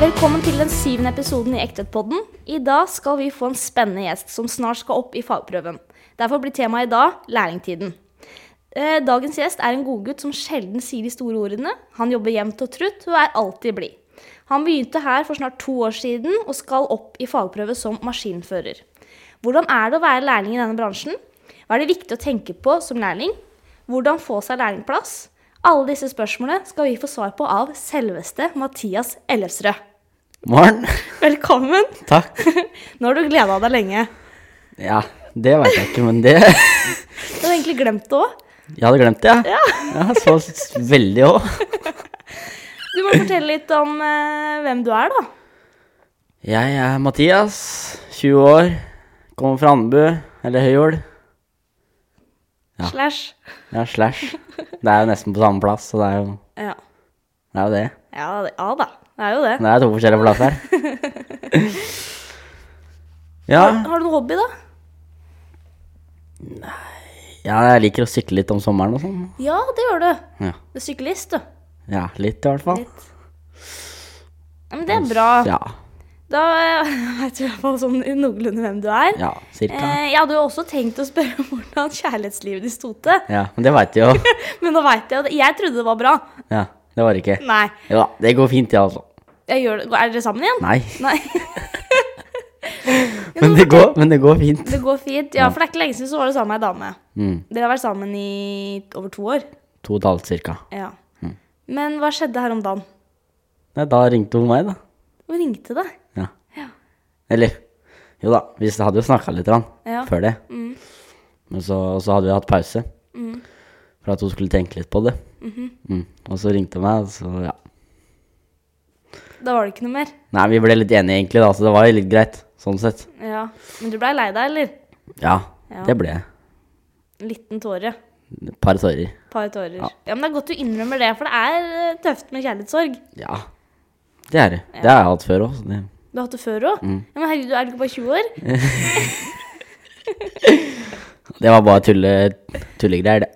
Velkommen til den syvende episoden i Ekthetpodden. I dag skal vi få en spennende gjest som snart skal opp i fagprøven. Derfor blir temaet i dag lærlingtiden. Eh, Dagens gjest er en godgutt som sjelden sier de store ordene. Han jobber jevnt og trutt og er alltid blid. Han begynte her for snart to år siden og skal opp i fagprøve som maskinfører. Hvordan er det å være lærling i denne bransjen? Hva er det viktig å tenke på som lærling? Hvordan få seg lærlingplass? Alle disse spørsmålene skal vi få svar på av selveste Mathias Ellefsrød. Morgen. Velkommen! Takk. Nå har du gleda deg lenge. Ja, det veit jeg ikke, men det Du hadde egentlig glemt det òg. Jeg hadde glemt det, jeg. Ja. ja så s- veldig òg. Du må fortelle litt om eh, hvem du er, da. Jeg er Mathias, 20 år, kommer fra Andebu, eller Høyhjul. Ja. Slash. Ja, slash. Det er jo nesten på samme plass, så det er jo Ja. det. Er jo det. Ja, det- ja da. Det er jo det. Men det er to forskjellige plasser. Ja, Har, har du noen hobby, da? ja, jeg liker å sykle litt om sommeren og sånn. Ja, det gjør du. Ja. Du er syklist, du. ja, litt i hvert fall. Litt. Ja, men det er bra. Ja, Da veit du i hvert fall sånn noenlunde hvem du er. ja cirka. Eh, jeg hadde jo også tenkt å spørre om hvordan kjærlighetslivet ditt sto til, Ja, men det veit jeg jo. men nå veit jeg at jeg trodde det var bra. Ja, det var det ikke. Nei. Jo da, det går fint, det, ja, altså. Jeg gjør det. Er dere sammen igjen? Nei. Nei. Men det går, men det går fint. Det går fint. Ja, for det er ikke lenge siden så var du sammen med ei dame. Mm. Dere har vært sammen i over to år. To og et halvt cirka. Ja. Men hva skjedde her om dagen? Nei, da ringte hun meg, da. Hun ringte deg. Ja. Eller Jo da, vi s- hadde jo snakka litt grann Ja. før det. Men så, og så hadde vi hatt pause for at hun skulle tenke litt på det. Mm. Og så ringte hun meg, og så ja. Da var det ikke noe mer. Nei, vi ble litt enige egentlig, da, så det var jo litt greit sånn sett. Ja. Men du blei lei deg, eller? Ja, Ja. det ble jeg. En liten tåre. Et par tårer. Par tårer. Ja. men det er godt du innrømmer det, for det er eh, tøft med kjærlighetssorg. Ja. Det er det. Det har jeg hatt før òg, så det Du har hatt det før òg. Ja, men herregud, du er ikke bare 20 år? Det var bare tulle, tullegreier, det.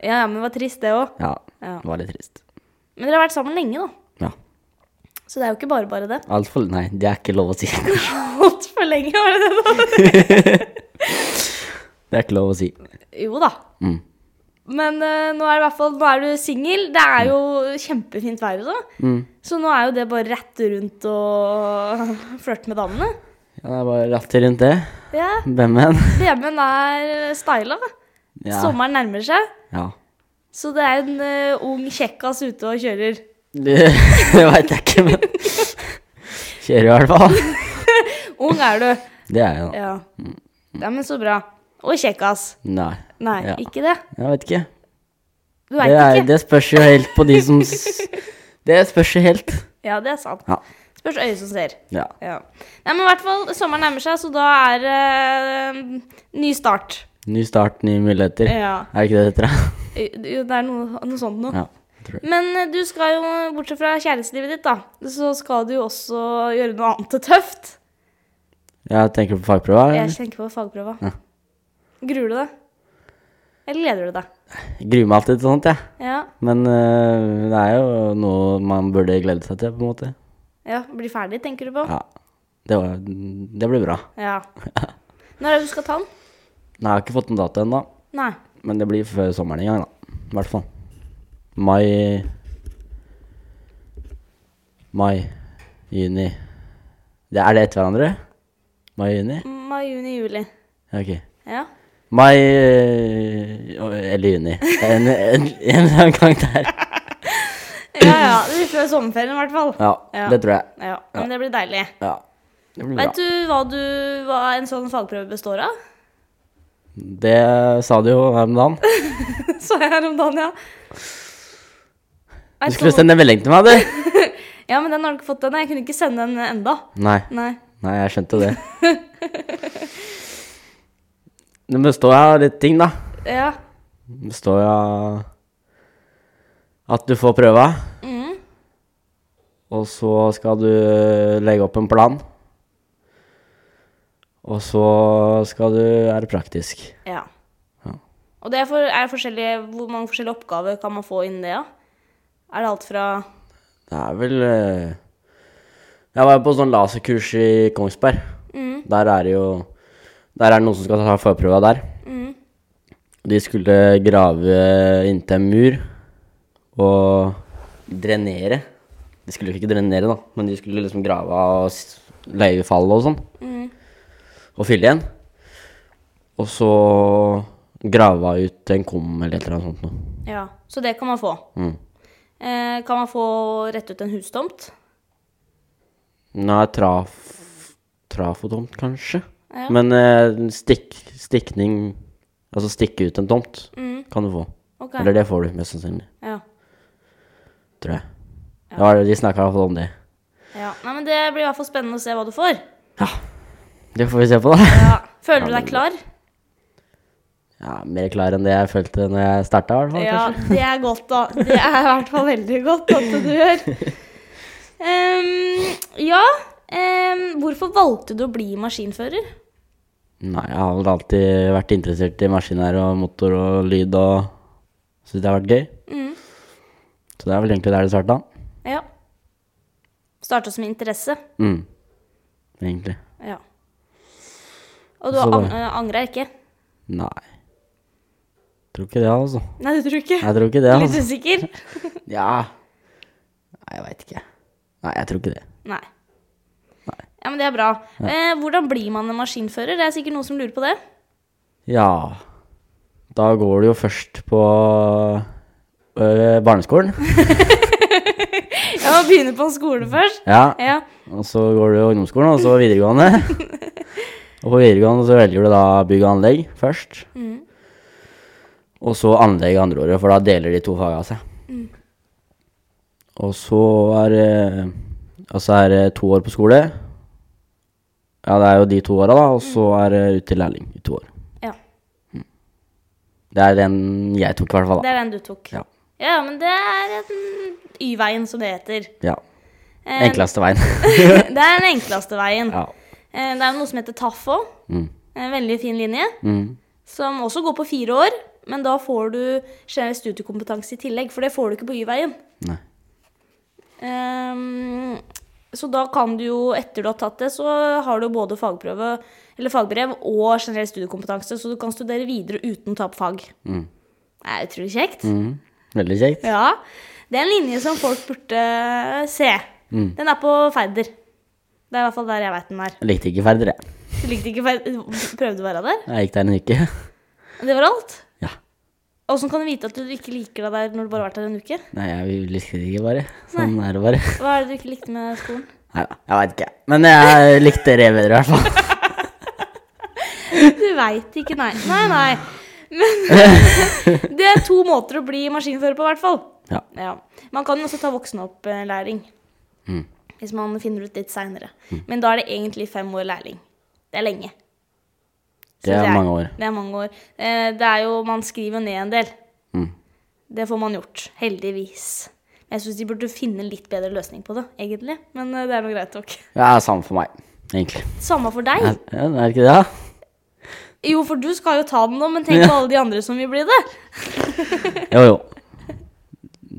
Ja, ja, men det var trist, det òg. Ja. Ja. Det var litt trist. Men dere har vært sammen lenge, da. Ja. Så det er jo ikke bare bare det. Altfor Nei, det er ikke lov å si. det Altfor lenge, var det det, da? er ikke lov å si. Jo da. Mm. Men eh, nå er det i hvert fall Nå er du singel. Det er jo kjempefint vær ute. Mm. Så nå er jo det bare rett rundt og flørte med damene. Ja, det er bare ratter rundt det. Ja. Hvem enn. BM-en er styla. Ja. Sommeren nærmer seg, Ja. så det er en eh, ung kjekkas ute og kjører. Det, det veit jeg ikke, men Kjører i hvert fall. Ung er du. Det er jeg, da. Ja. ja, men så bra. Og kjekkas. Nei. Nei, Ja. ikke det. Jeg vet ikke. Du Det, veit er, ikke. det spørs jo helt på de som s- Det spørs jo helt. Ja, det er sant. Ja. Spørs øyet som ser. ja. Ja. Nei, men i hvert fall, sommeren nærmer seg, så da er det ny start. Ny start, nye muligheter. Ja. Er det ikke det det heter? da? Jo, Eh, Det er noe, noe sånt noe. Ja. jeg tror det. Men eh, du skal jo, bortsett fra kjærlighetslivet ditt, da, så skal du jo også gjøre noe annet og tøft. Jeg tenker på fagprøva. Jeg eller? tenker på fagprøva. Gruer du deg? Eller gleder du deg? Gruer meg alltid til sånt, jeg. Ja. Men øh, det er jo noe man burde glede seg til, på en måte. ja. Bli ferdig, tenker du på? Ja. Det, var, det blir bra. Ja. Når er det du skal ta den? Nei, jeg har ikke fått en dato ennå. Nei. Men det blir før sommeren en gang, da. I hvert fall. Mai Mai, juni det, Er det etter hverandre? Mai, juni? Mai, juni, juli. Ja, Ok. Ja. Mai øh, eller juni. En, en, en eller annen gang der. Ja, ja. Det blir før sommerferien, i hvert fall. Ja, Ja. det tror jeg. Ja, Men det blir deilig. Ja. Det blir bra. Veit du hva du hva en sånn fagprøve består av? Det sa du jo her om dagen. Så jeg her om dagen, ja. Du Vet skulle hva- sende melding til meg, du! Ja, men den har du ikke fått ennå. Jeg kunne ikke sende den enda. Nei. Nei. Nei, jeg skjønte det. Den består av litt ting, da. Ja. Den består av at du får prøva, Mm. og så skal du legge opp en plan. Og så skal du være praktisk. ja. Ja. Og det er, for, er forskjellige, hvor mange forskjellige oppgaver kan man få innen det, da? Er det alt fra Det er vel eh, Jeg var jo på sånn laserkurs i Kongsberg. Der er det jo Der er det noen som skal ta forprøva der. mm, De skulle grave inntil en mur og drenere. De skulle ikke drenere, da, men de skulle liksom grave av og s- legge fallet og sånn. Mm. Og fylle igjen. Og så grava ut en kum eller et eller annet sånt noe. Ja, Så det kan man få. Mm. Eh, kan man få rett ut en hustomt? Nei, traf... Trafotomt, kanskje? Ja. Men eh, stikk, stikning Altså stikke ut en tomt kan du få. Mm. Ok. Eller det får du, mest sannsynlig. Ja. Tror jeg. Det var, de snakka i hvert fall om det. ja. Nei, men Det blir i hvert fall spennende å se hva du får. Ja. Det får vi se på, da. Ja. Føler du deg klar? Ja, Mer klar enn det jeg følte når jeg starta, i hvert fall. Ja, kanskje. det er godt, da. Det er i hvert fall veldig godt at du gjør. Ehm, ja, ehm, hvorfor valgte du å bli maskinfører? Nei, jeg har vel alltid vært interessert i maskiner og motor og lyd og Syns det har vært gøy. Så det er vel egentlig der det starta. Ja. Starta som interesse. Mm. Egentlig. Ja. Og du Så ang da- angra ikke? Nei. Tror ikke det, altså. Nei, det tror jeg ikke. Jeg tror ikke det, Litt altså. usikker? Ja. Nei, jeg veit ikke. Nei, jeg tror ikke det. Nei. Ja, men det er bra. Eh, hvordan blir man en maskinfører? Det er sikkert noen som lurer på det. Ja. Da går du jo først på øh, barneskolen. Jeg må begynne på skole først. Ja. Ja. Og så går du ungdomsskolen, og så videregående. og på videregående så velger du da bygg og anlegg først. Og så anlegg andre året, for da deler de to faga seg. Og så er det Og så er det to år på skole. Ja, det er jo de to åra, da. Og så er det ut til lærling i to år. ja. Det er den jeg tok, i hvert fall. Det da. er den du tok. Ja. Ja, men det er den Y-veien, som det heter. ja. Eh, Enkleste veien. det er den enkleste veien. ja. Eh, Det er jo noe som heter TAF òg. Mm. En veldig fin linje. Mm. Som også går på fire år, men da får du generell studiekompetanse i tillegg. For det får du ikke på Y-veien. Nei. Ehm, så da kan du jo, etter du har tatt det, så har du både fagprøve, eller fagbrev og generell studiekompetanse, så du kan studere videre uten å ta opp fag. Mm. Det er utrolig kjekt. Mm. Veldig kjekt. Ja. Det er en linje som folk burde se. Den er på Færder. Det er i hvert fall der jeg veit den er. Jeg likte ikke Færder, jeg. Du likte ikke Færder? Prøvde du å være der? Jeg gikk der en uke. Det var alt? Ja. Åssen kan du vite at du ikke liker deg der når du bare har vært der en uke? Nei, jeg likte det ikke bare. Sånn er det bare. Hva er det du ikke likte med skolen? Nei da, jeg veit ikke. Men jeg likte det bedre, i hvert fall. Du veit ikke, nei. Nei, nei. Men det er to måter å bli maskinfører på, i hvert fall. Ja. Ja. Man kan jo også ta voksenopplæring. Mm. Hvis man finner ut litt seinere. Men da er det egentlig fem år lærling. Det er lenge. Det Så er mange år. Det er mange år. Eh, Det er jo, man skriver jo ned en del. Mm. Det får man gjort, heldigvis. Men jeg syns de burde finne en litt bedre løsning på det, egentlig. Men eh, det er nå greit nok. Ja, samme for meg, egentlig. Samme for deg. Er, er det ikke det, da? Jo, for du skal jo ta den nå, men tenk på alle de andre som vil bli det. Jo, jo.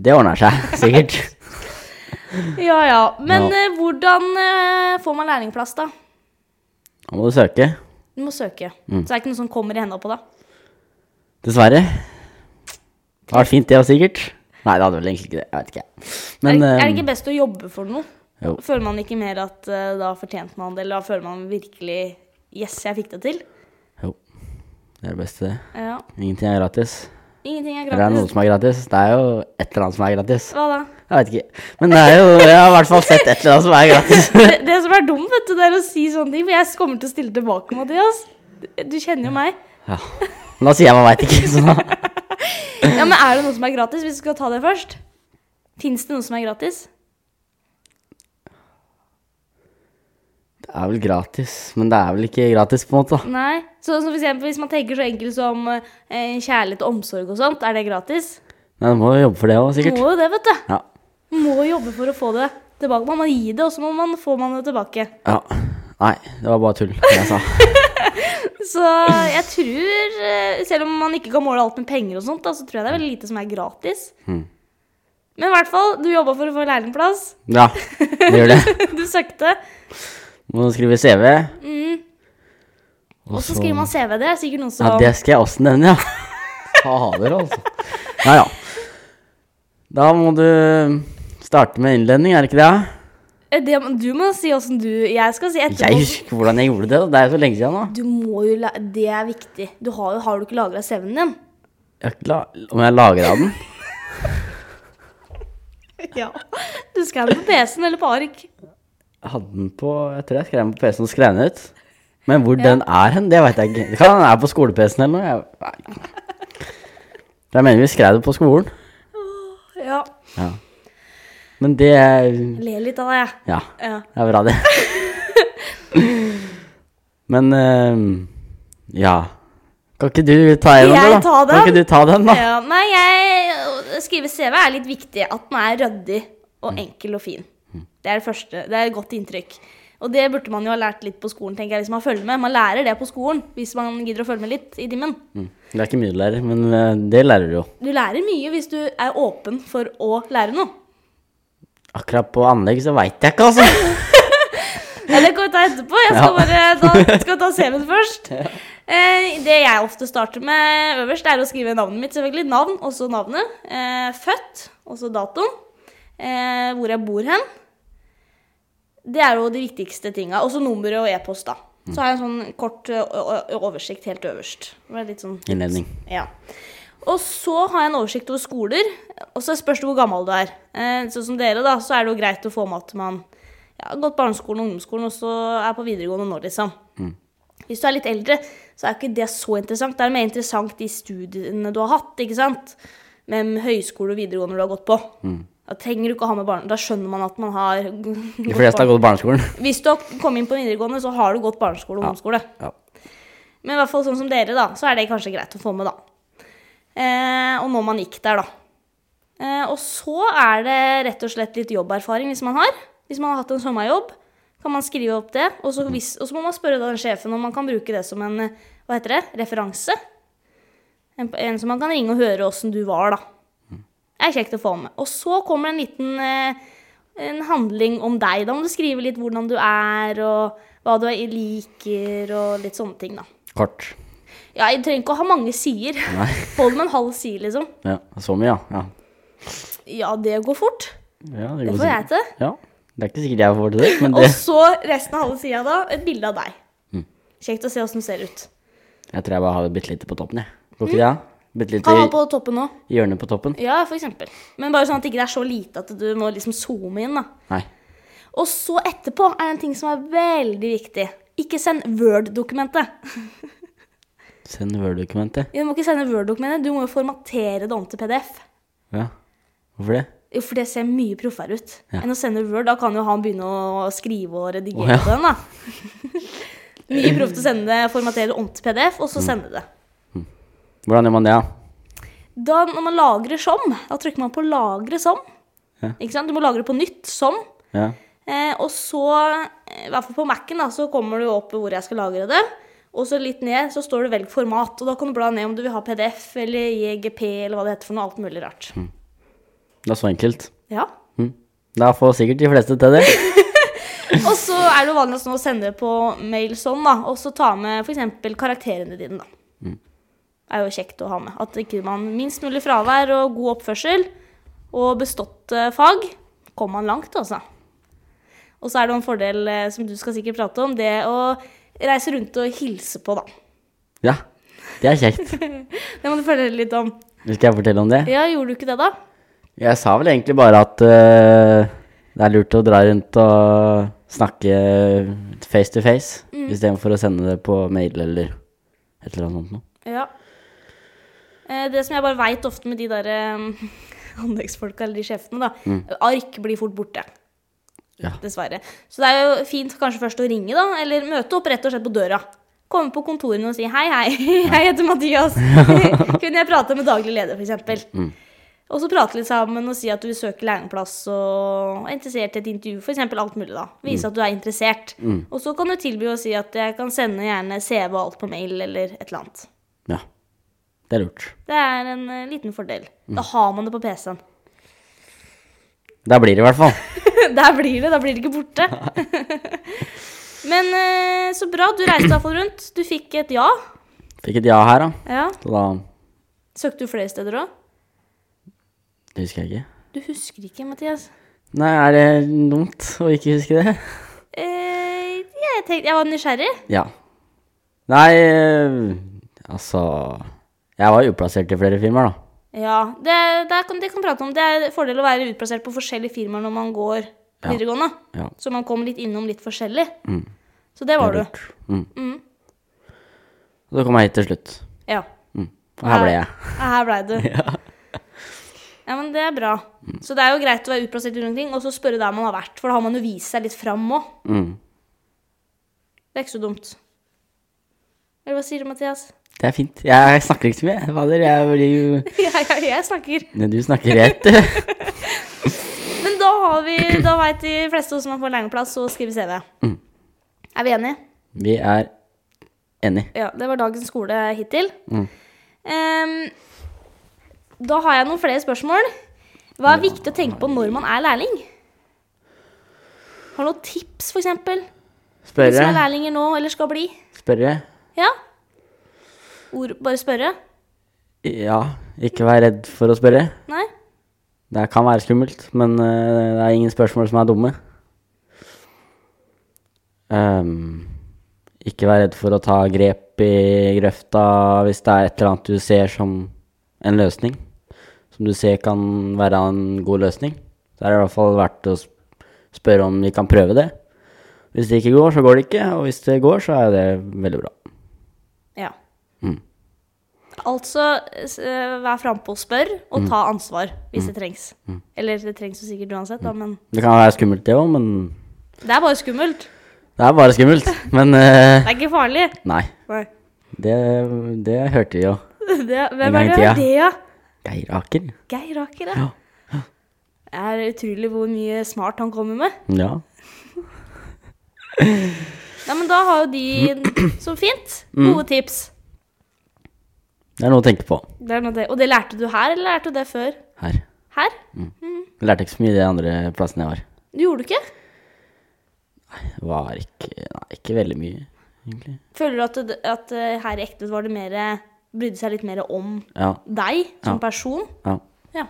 Det ordner seg, sikkert. Ja, ja. Men Ja. eh, hvordan eh, får man lærlingplass, da? Da må du søke. Du må søke. Mm. Så det er ikke noe som kommer i henda på deg. Dessverre. Det hadde vært fint, det òg, sikkert. Nei, det hadde vel egentlig ikke det. Jeg vet ikke. Men er, det- er det eh, ikke best å jobbe for noe? Jo. Føler man ikke mer at eh, da fortjente man det, eller da føler man virkelig Yes, jeg fikk det til. Jo. Det er det beste. Ja. Ingenting er gratis. Ingenting er Eller er det noe gratis. som er gratis? Det er jo et eller annet som er gratis. Hva da? Jeg vet ikke. Men det er jo, jeg har i hvert fall sett et eller annet som er gratis. Det, det som er dumt, vet du, det er å si sånne ting, for jeg kommer til å stille tilbake, Mathias. Du kjenner jo meg. Ja. Men da sier jeg man veit ikke. Så da. Ja, Men er det noe som er gratis, hvis vi skal ta det først? Fins det noe som er gratis? Det er vel gratis, men det er vel ikke gratis, på en måte. da. Nei. Så som for eksempel, hvis man tenker så enkelt som eh, kjærlighet og omsorg og sånt, er det gratis? Nei, du må jo jobbe for det òg, Du sikkert. må jo det, vet du. Ja. Må jobbe for å få det tilbake. Man må gi det, og så må man få man det tilbake. ja. Nei, det var bare tull, det jeg sa. Så jeg tror, eh, selv om man ikke kan måle alt med penger og sånt, da, så tror jeg det er veldig lite som er gratis. Men i hvert fall, du jobba for å få lærlingplass. Ja, det gjør det. Du søkte. Må skrive CV. Og så skriver man CV. Det er sikkert noen som Ja, det skal jeg også nevne, ja. Fader, altså. Nei ja. Da må du starte med innledning, er det ikke det? Eh, det Du må si åssen du Jeg skal si etterpå. Jeg husker ikke hvordan jeg gjorde det. da. Det er jo så lenge siden nå. Du må jo la Det er viktig. Du har, jo- har du ikke lagra CV-en din? Jeg har ikke la om jeg lagra den? Ja. Du skal ha den på PC-en eller på ark. Jeg hadde den på Jeg tror jeg skrev den på PC-en og skrev den ut. Men hvor den er hen, det veit jeg ikke. Det kan hende den er på skole-PC-en eller noe. Jeg, nei. jeg mener vi skrev det på skolen. Ja. Ja. Men det Jeg ler litt av det, jeg. Ja. Ja. Det er bra, det. Men eh, Ja. Kan ikke du ta en, jeg da? ta Kan den? ikke du ta den, da? Ja, nei, jeg å skrive CV er litt viktig. At den er ryddig og enkel og fin. Det er det første. Det er et godt inntrykk. Og det burde man jo ha lært litt på skolen, tenker jeg, hvis man følger med. Man lærer det på skolen hvis man gidder å følge med litt i timen. Mm. Det er ikke mye du lærer, men eh, det lærer du jo. Du lærer mye hvis du er åpen for å lære noe. Akkurat på anlegg så veit jeg ikke, altså. Ja, det kan vi ta etterpå. Jeg skal Ja. bare da, skal vi ta CV-en først. Eh, det jeg ofte starter med øverst, er å skrive navnet mitt, selvfølgelig. Navn, også navnet. Eh, født, også datoen. Eh, hvor jeg bor hen. Det er jo de viktigste tinga. Også nummeret og e-post, da. Så har jeg en sånn kort ø, ø, oversikt helt øverst. Det var litt sånn Innledning. ja. Og så har jeg en oversikt over skoler, og så spørs det hvor gammel du er. Eh, sånn som dere, da, så er det jo greit å få med at man ja, har gått barneskolen og ungdomsskolen, og så er på videregående nå, liksom. Mm. Hvis du er litt eldre, så er jo ikke det så interessant. Det er mer interessant de studiene du har hatt, ikke sant? Med høyskole og videregående du har gått på. Da trenger du ikke å ha med barn. Da skjønner man at man har Mm. De fleste har gått barneskolen. Hvis du har kommet inn på videregående, så har du gått barneskole og ungdomsskole. Ja. Men i hvert fall sånn som dere, da, så er det kanskje greit å få med, da. Eh, og når man gikk der, da. Eh, og så er det rett og slett litt jobberfaring hvis man har. Hvis man har hatt en sommerjobb, kan man skrive opp det. Og så, hvis, og så må man spørre da den sjefen om man kan bruke det som en eh, hva heter det, referanse. En, en som man kan ringe og høre åssen du var, da. Det er kjekt å få med. Og så kommer det en liten eh, en handling om deg. Da må du skrive litt hvordan du er, og hva du liker, og litt sånne ting, da. Kort. Ja, jeg trenger ikke å ha mange sider. Nei. Hold med en halv side, liksom. Ja, så mye, ja. Ja, det går fort. ja. ja det, Det går får sikkert. jeg til. Ja. Det er ikke sikkert jeg får til det, Mm. men Og det, så resten av halve sida, da. Et bilde av deg. Kjekt å se åssen du ser ut. jeg tror jeg bare har det bitte lite på toppen, jeg. Går ikke det? da? Bitte Kan ha Mm. lite på toppen nå. i hjørnet på toppen? Ja, for eksempel. Men bare sånn at det ikke er så lite at du må liksom zoome inn, da. Nei. Og så etterpå er det en ting som er veldig viktig. Ikke send Word-dokumentet. Send Word-dokumentet. Du må ikke sende Word-dokumentet, du må jo formatere det om til PDF. Ja. Hvorfor det? Jo, for det ser mye proffere ut Ja. enn å sende Word. Da kan jo han begynne å skrive og redigere Å, ja. på den, da. mye proft å sende det, formatere det om til PDF, og Mm. så sende det. Hvordan gjør man det, da? Da, når man lagrer som, da trykker man på 'lagre som'. Ja. Ikke sant? Du må lagre på nytt som. Ja. Eh, og så, eh, i hvert fall på Mac-en, da, så kommer du opp hvor jeg skal lagre det. Og så litt ned så står det 'velg format', og da kan du bla ned om du vil ha PDF eller JGP eller hva det heter for noe. Alt mulig rart. Mm. Det er så enkelt. Ja. Mm. Da får sikkert de fleste til det. Og så er det jo vanligst nå å sende det på mail sånn, da. Og så ta med f.eks. karakterene dine, da. Det er jo kjekt å ha med. At ikke man minst mulig fravær og god oppførsel og bestått eh, fag, kommer man langt, altså. Og så er det jo en fordel eh, som du skal sikkert prate om, det å reise rundt og hilse på, da. Ja. Det er kjekt. Det må du følge litt om. Skal jeg fortelle om det? Ja, gjorde du ikke det, da? Jeg sa vel egentlig bare at eh, det er lurt å dra rundt og snakke face to face, Mm. istedenfor å sende det på mail eller et eller annet sånt noe. Ja. Eh, Det som jeg bare veit ofte med de der eh, anleggsfolka eller de sjefene, da. Ark blir fort borte. Ja. Dessverre. Så det er jo fint kanskje først å ringe, da. Eller møte opp rett og slett på døra. Komme på kontorene og si 'hei, hei, jeg heter Mathias'. Kunne jeg prate med daglig leder, f.eks.? Og så prate litt sammen og si at du vil søke lærlingplass og er interessert i et intervju. For eksempel alt mulig, da. Vise at du er interessert. Og så kan du tilby å si at jeg kan sende gjerne CV og alt på mail eller et eller annet. Ja. Det er lurt. Det er en eh, liten fordel. Da har man det på PC-en. Der blir det i hvert fall. Der blir det. Da blir det ikke borte. Men eh, så bra. Du reiste i hvert fall rundt. Du fikk et ja. Fikk et ja her, da. ja. Så da Søkte du flere steder òg? Det husker jeg ikke. Du husker ikke, Mathias. Nei, er det dumt å ikke huske det? Eh, jeg, tenkte, jeg var nysgjerrig. Ja. Nei, eh, altså Jeg var uplassert i flere firmaer, da. Ja, det, det, kan, det kan vi prate om. Det er en fordel å være utplassert på forskjellige firmaer når man går videregående. Ja. Så man kommer litt innom litt forskjellig. Så det var du. Mm. Mm. Og så kom jeg hit til slutt. Ja. Mm. Og her ble jeg. Ja, Her blei du. ja. men det er bra. Så det er jo greit å være utplassert rundt omkring, og så spørre der man har vært. For da har man jo vist seg litt fram òg. Mm. Det er ikke så dumt. Eller hva sier du, Mathias? Det er fint. Jeg snakker ikke så mye. Fader, jeg blir jo ja, ja, jeg snakker. Nei, Du snakker rett. Men da, har vi, da veit de fleste hvordan man får lærlingplass og skriver CV. Mm. Er vi enige? Vi er enig. Ja, det var dagens skole hittil. Mm. Ehm, da har jeg noen flere spørsmål. Hva er viktig å tenke på når man er lærling? Har du noen tips, f.eks.? De som er Spørre. lærlinger nå, eller skal bli? Spørre. Ja? Ord, bare spørre? Ja, ikke vær redd for å spørre. Nei? Det kan være skummelt, men eh, det er ingen spørsmål som er dumme. Ehm, ikke vær redd for å ta grep i grøfta hvis det er et eller annet du ser som en løsning. Som du ser kan være en god løsning. Så er det i hvert fall verdt å sp- spørre om vi kan prøve det. Hvis det ikke går, så går det ikke. Og hvis det går, så er det veldig bra. Ja. Mm. Altså, s- eh, vær frampå og spør, Mm. og ta ansvar hvis det trengs. Eller det trengs jo sikkert uansett, Mm. da, men Det kan være skummelt, det òg, men det er bare skummelt. Det er bare skummelt. Men eh, Det er ikke farlig. nei. Nei. Det, det hørte vi jo. Det, En hvem gang er i det? tida. Det, ja? Geir Aker. Geir Aker, ja. Ja. Det er utrolig hvor mye smart han kommer med. Ja. Nei, men da har jo de så fint. Mm. Gode tips. Det er noe å tenke på Det er noe det. Og det lærte du her, eller lærte du det før? her. Her? Mm. Jeg lærte ikke så mye de andre plassene jeg var. Du gjorde det ikke? Var ikke Nei, ikke veldig mye, egentlig. Føler du at, det, at eh, her i Ektet var det mer Brydde seg litt mer om Ja. deg som Ja. person? ja. Ja.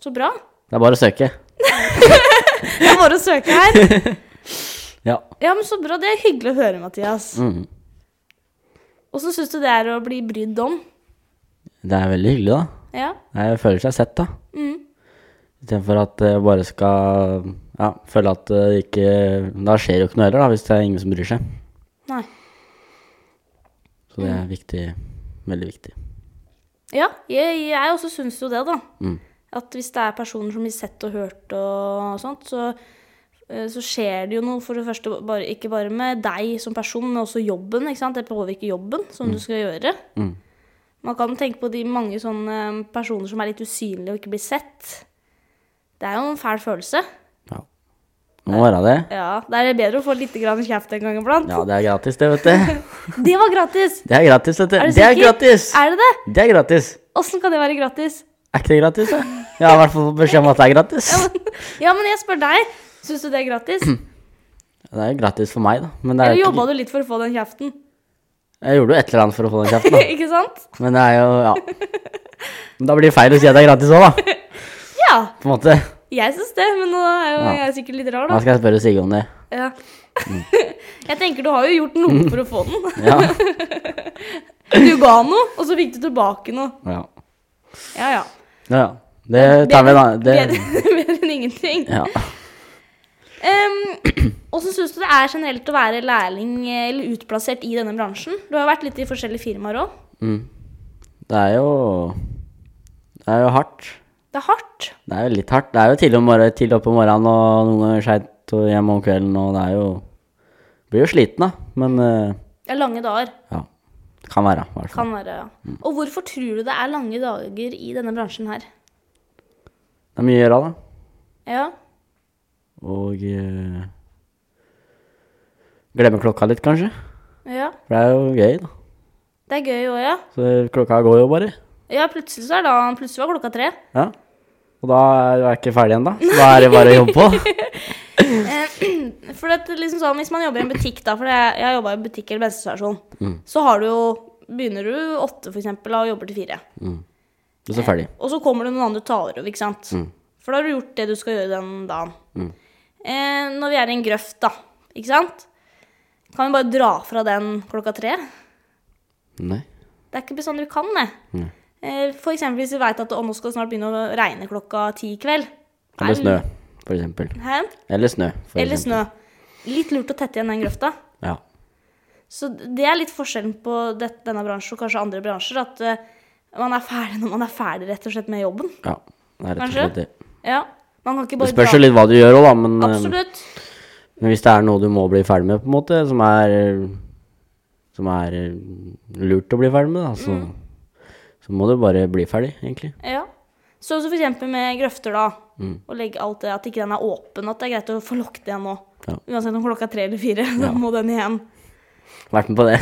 Så bra. Det er bare å søke. Det er bare å søke her. Ja. Ja, men så bra. Det er hyggelig å høre, Mathias. Mhm. Åssen syns du det er å bli brydd om? Det er veldig hyggelig, da. Ja. Jeg føler seg sett, da. Mm. Istedenfor at jeg bare skal ja, føle at det ikke Da skjer jo ikke noe heller, da, hvis det er ingen som bryr seg. Nei. Så det er Mm. viktig. Veldig viktig. Ja, jeg, jeg også syns jo det, da. Mm. At hvis det er personer som blir sett og hørt og sånt, så, eh, så skjer det jo noe, for det første, bare, ikke bare med deg som person, men også jobben. ikke sant? Det påvirker jobben som du skal gjøre. Mm. Man kan tenke på de mange sånne eh, personer som er litt usynlige og ikke blir sett. Det er jo en fæl følelse. Ja. Det må være det. Ja, Da er det bedre å få litt grann kjeft en gang iblant. Ja, det er gratis, det, vet du. Det var gratis! Det er gratis, vet du. Er du det er sikker? gratis! Er det det? Det er gratis. Åssen kan det være gratis? Er ikke det gratis, da? Jeg har i hvert fall fått beskjed om at det er gratis. Ja, men jeg spør deg. Syns du det er gratis? Det er jo gratis for meg, da. Men det er Eller jo jobba ikke, du litt for å få den kjeften? jeg gjorde jo et eller annet for å få den kjeften, da. ikke sant? Men det er jo Ja. Men da blir det feil å si at det er gratis òg, da. Ja, På en måte. jeg syns det, men nå er jo, Ja. Mm. jeg er sikkert litt rar, Da da. skal jeg spørre Sigge om det. Ja. jeg tenker du har jo gjort noe Mm. for å få den. Ja. Du ga noe, og så fikk du tilbake noe. Ja, Ja, ja. ja. ja. Det tar vi, da. Det Bedre, bedre enn ingenting. Ja. Ehm, Åssen syns du det er generelt å være lærling eh, eller utplassert i denne bransjen? Du har jo vært litt i forskjellige firmaer òg. Mm. Det er jo Det er jo hardt. Det er hardt. Det er jo litt hardt. Det er jo tidlig om morgenen, tidlig opp om morgenen og noen ganger seint og hjem om kvelden, og det er jo Blir jo sliten, da. Men eh, Det er lange dager. ja. Det kan være, i hvert fall. Kan være, ja. Mm. Og hvorfor tror du det er lange dager i denne bransjen her? Det er mye å gjøre, da. Ja. Og eh, glemme klokka litt, kanskje. ja. For det er jo gøy, da. Det er gøy òg, ja. Så klokka går jo bare. Ja, plutselig så er da, plutselig var klokka tre. Ja. Og da er jeg ikke ferdig ennå. Så da er det bare å jobbe på. For at liksom sånn, Hvis man jobber i en butikk, da, for jeg, jeg jobba i en butikk eller bensinstasjon, så har du jo, begynner du åtte for eksempel, og jobber til fire. Mm. Og så ferdig. Og så kommer det noen andre talere, ikke sant? For da har du gjort det du skal gjøre den dagen. Eh, når vi er i en grøft, da, ikke sant? Kan vi bare dra fra den klokka tre? Nei. Det er ikke bestandig vi kan det. Eh, for eksempel hvis vi veit at å, nå skal det snart begynne å regne klokka ti i kveld. Eller snø, for eksempel. Hæ? Eller snø, for Eller eksempel. snø. Litt lurt å tette igjen den grøfta. Ja. Så det er litt forskjellen på det, denne bransjen og kanskje andre bransjer. At eh, man er ferdig når man er ferdig rett og slett med jobben. ja. Det er rett og Kanskje? slett det. Ja, Man kan ikke Det bare spørs jo litt hva du gjør òg, da, men, eh, Absolutt. men hvis det er noe du må bli ferdig med, på en måte, som er Som er eh, lurt å bli ferdig med, da, så, Mm. så må du bare bli ferdig, egentlig. Ja. Så, så for eksempel med grøfter, da. Mm. Og legge alt det, at ikke den er åpen. At det er greit å få lukket igjen nå. Ja. Uansett om klokka er tre eller fire, da må den igjen. Vært med på det?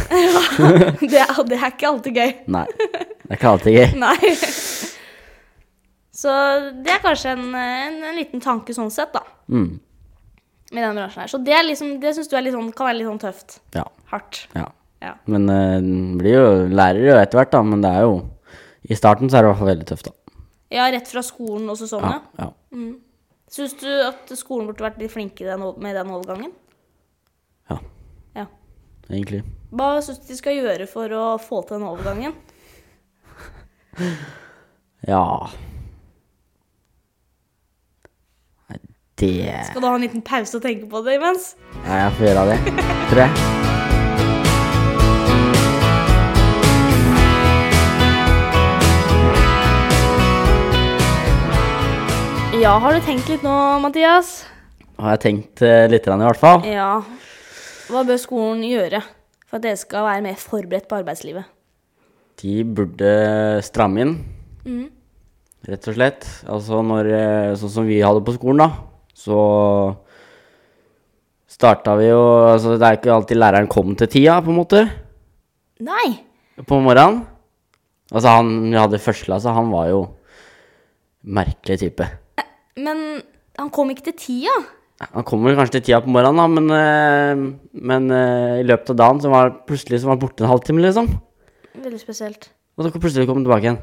Det, er- det er ikke alltid gøy. Nei. Det er ikke alltid gøy. Nei. Så det er kanskje en, en, en liten tanke sånn sett, da. Mm. Med denne bransjen her. Så det, er liksom, det syns du er litt sånn, kan være litt sånn tøft. Ja. Hardt. ja. Ja. Men eh, den blir jo lærer jo etter hvert, da. Men det er jo I starten så er det i hvert fall veldig tøft, da. ja, rett fra skolen også sånn, Ja, ja. ja. Syns du at skolen burde vært litt flinkere den, med den overgangen? ja Ja. egentlig. Hva syns du de skal gjøre for å få til den overgangen? Ja Nei, Det Skal du ha en liten pause og tenke på det imens? Nei, jeg får gjøre det, tror jeg. Ja, har du tenkt litt nå, Mathias? Har jeg tenkt eh, litt grann, i hvert fall. Ja. Hva bør skolen gjøre for at dere skal være mer forberedt på arbeidslivet? De burde stramme inn, Mm. rett og slett. Altså når eh, Sånn som vi hadde på skolen, da, så starta vi jo Altså det er ikke alltid læreren kom til tida, på en måte. Nei! på morgenen. Altså, han vi hadde i første klasse, han var jo merkelig type. Men han kom ikke til tida. Han kom vel kanskje til tida på morgenen, da, men, eh, men eh, i løpet av dagen så var han plutselig så var han borte en halvtime, liksom. Veldig spesielt. Og så kom- plutselig kom han tilbake igjen.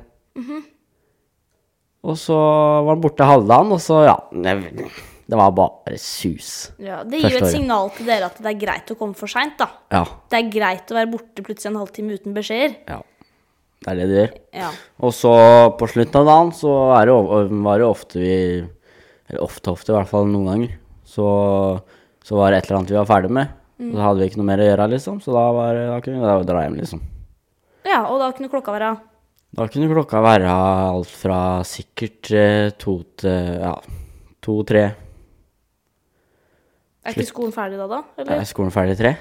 Og så var han borte halve dagen, og så, ja Det det var bare sus. Ja, det gir jo Første et året. signal til dere at det er greit å komme for seint, da. Ja. Det er greit å være borte plutselig en halvtime uten beskjeder. ja. Det er det det gjør. Ja. Og så på slutten av dagen så er det, o- var det ofte vi Eller ofte, ofte, i hvert fall noen ganger. Så, så var det et eller annet vi var ferdig med. Og så hadde vi ikke noe mer å gjøre, liksom. Så da, var, da kunne vi da dra hjem, liksom. ja, og da kunne klokka være Da kunne klokka være alt fra sikkert eh, to til Ja, to-tre. Er ikke skolen ferdig da, da? Eller? Er skolen ferdig tre?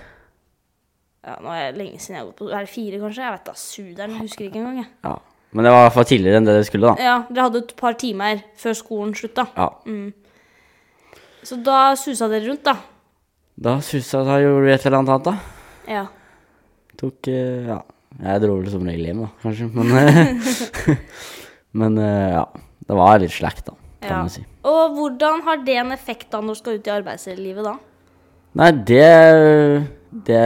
Ja, nå er det lenge siden jeg har gått på Er det fire, kanskje? Jeg vet da, suderen. Jeg husker ikke engang, jeg. Ja. Men det var i hvert fall tidligere enn det det skulle, da. Ja, dere hadde et par timer før skolen slutta. Ja. Så da susa dere rundt, da. Da susa da gjorde vi et eller annet annet, da. Ja. Tok eh, Ja. Jeg dro vel som regel hjem, da, kanskje. Men, eh, men eh, ja. Det var litt slack, da, kan ja. man si. Og hvordan har det en effekt da når du skal ut i arbeidslivet da? Nei, det Det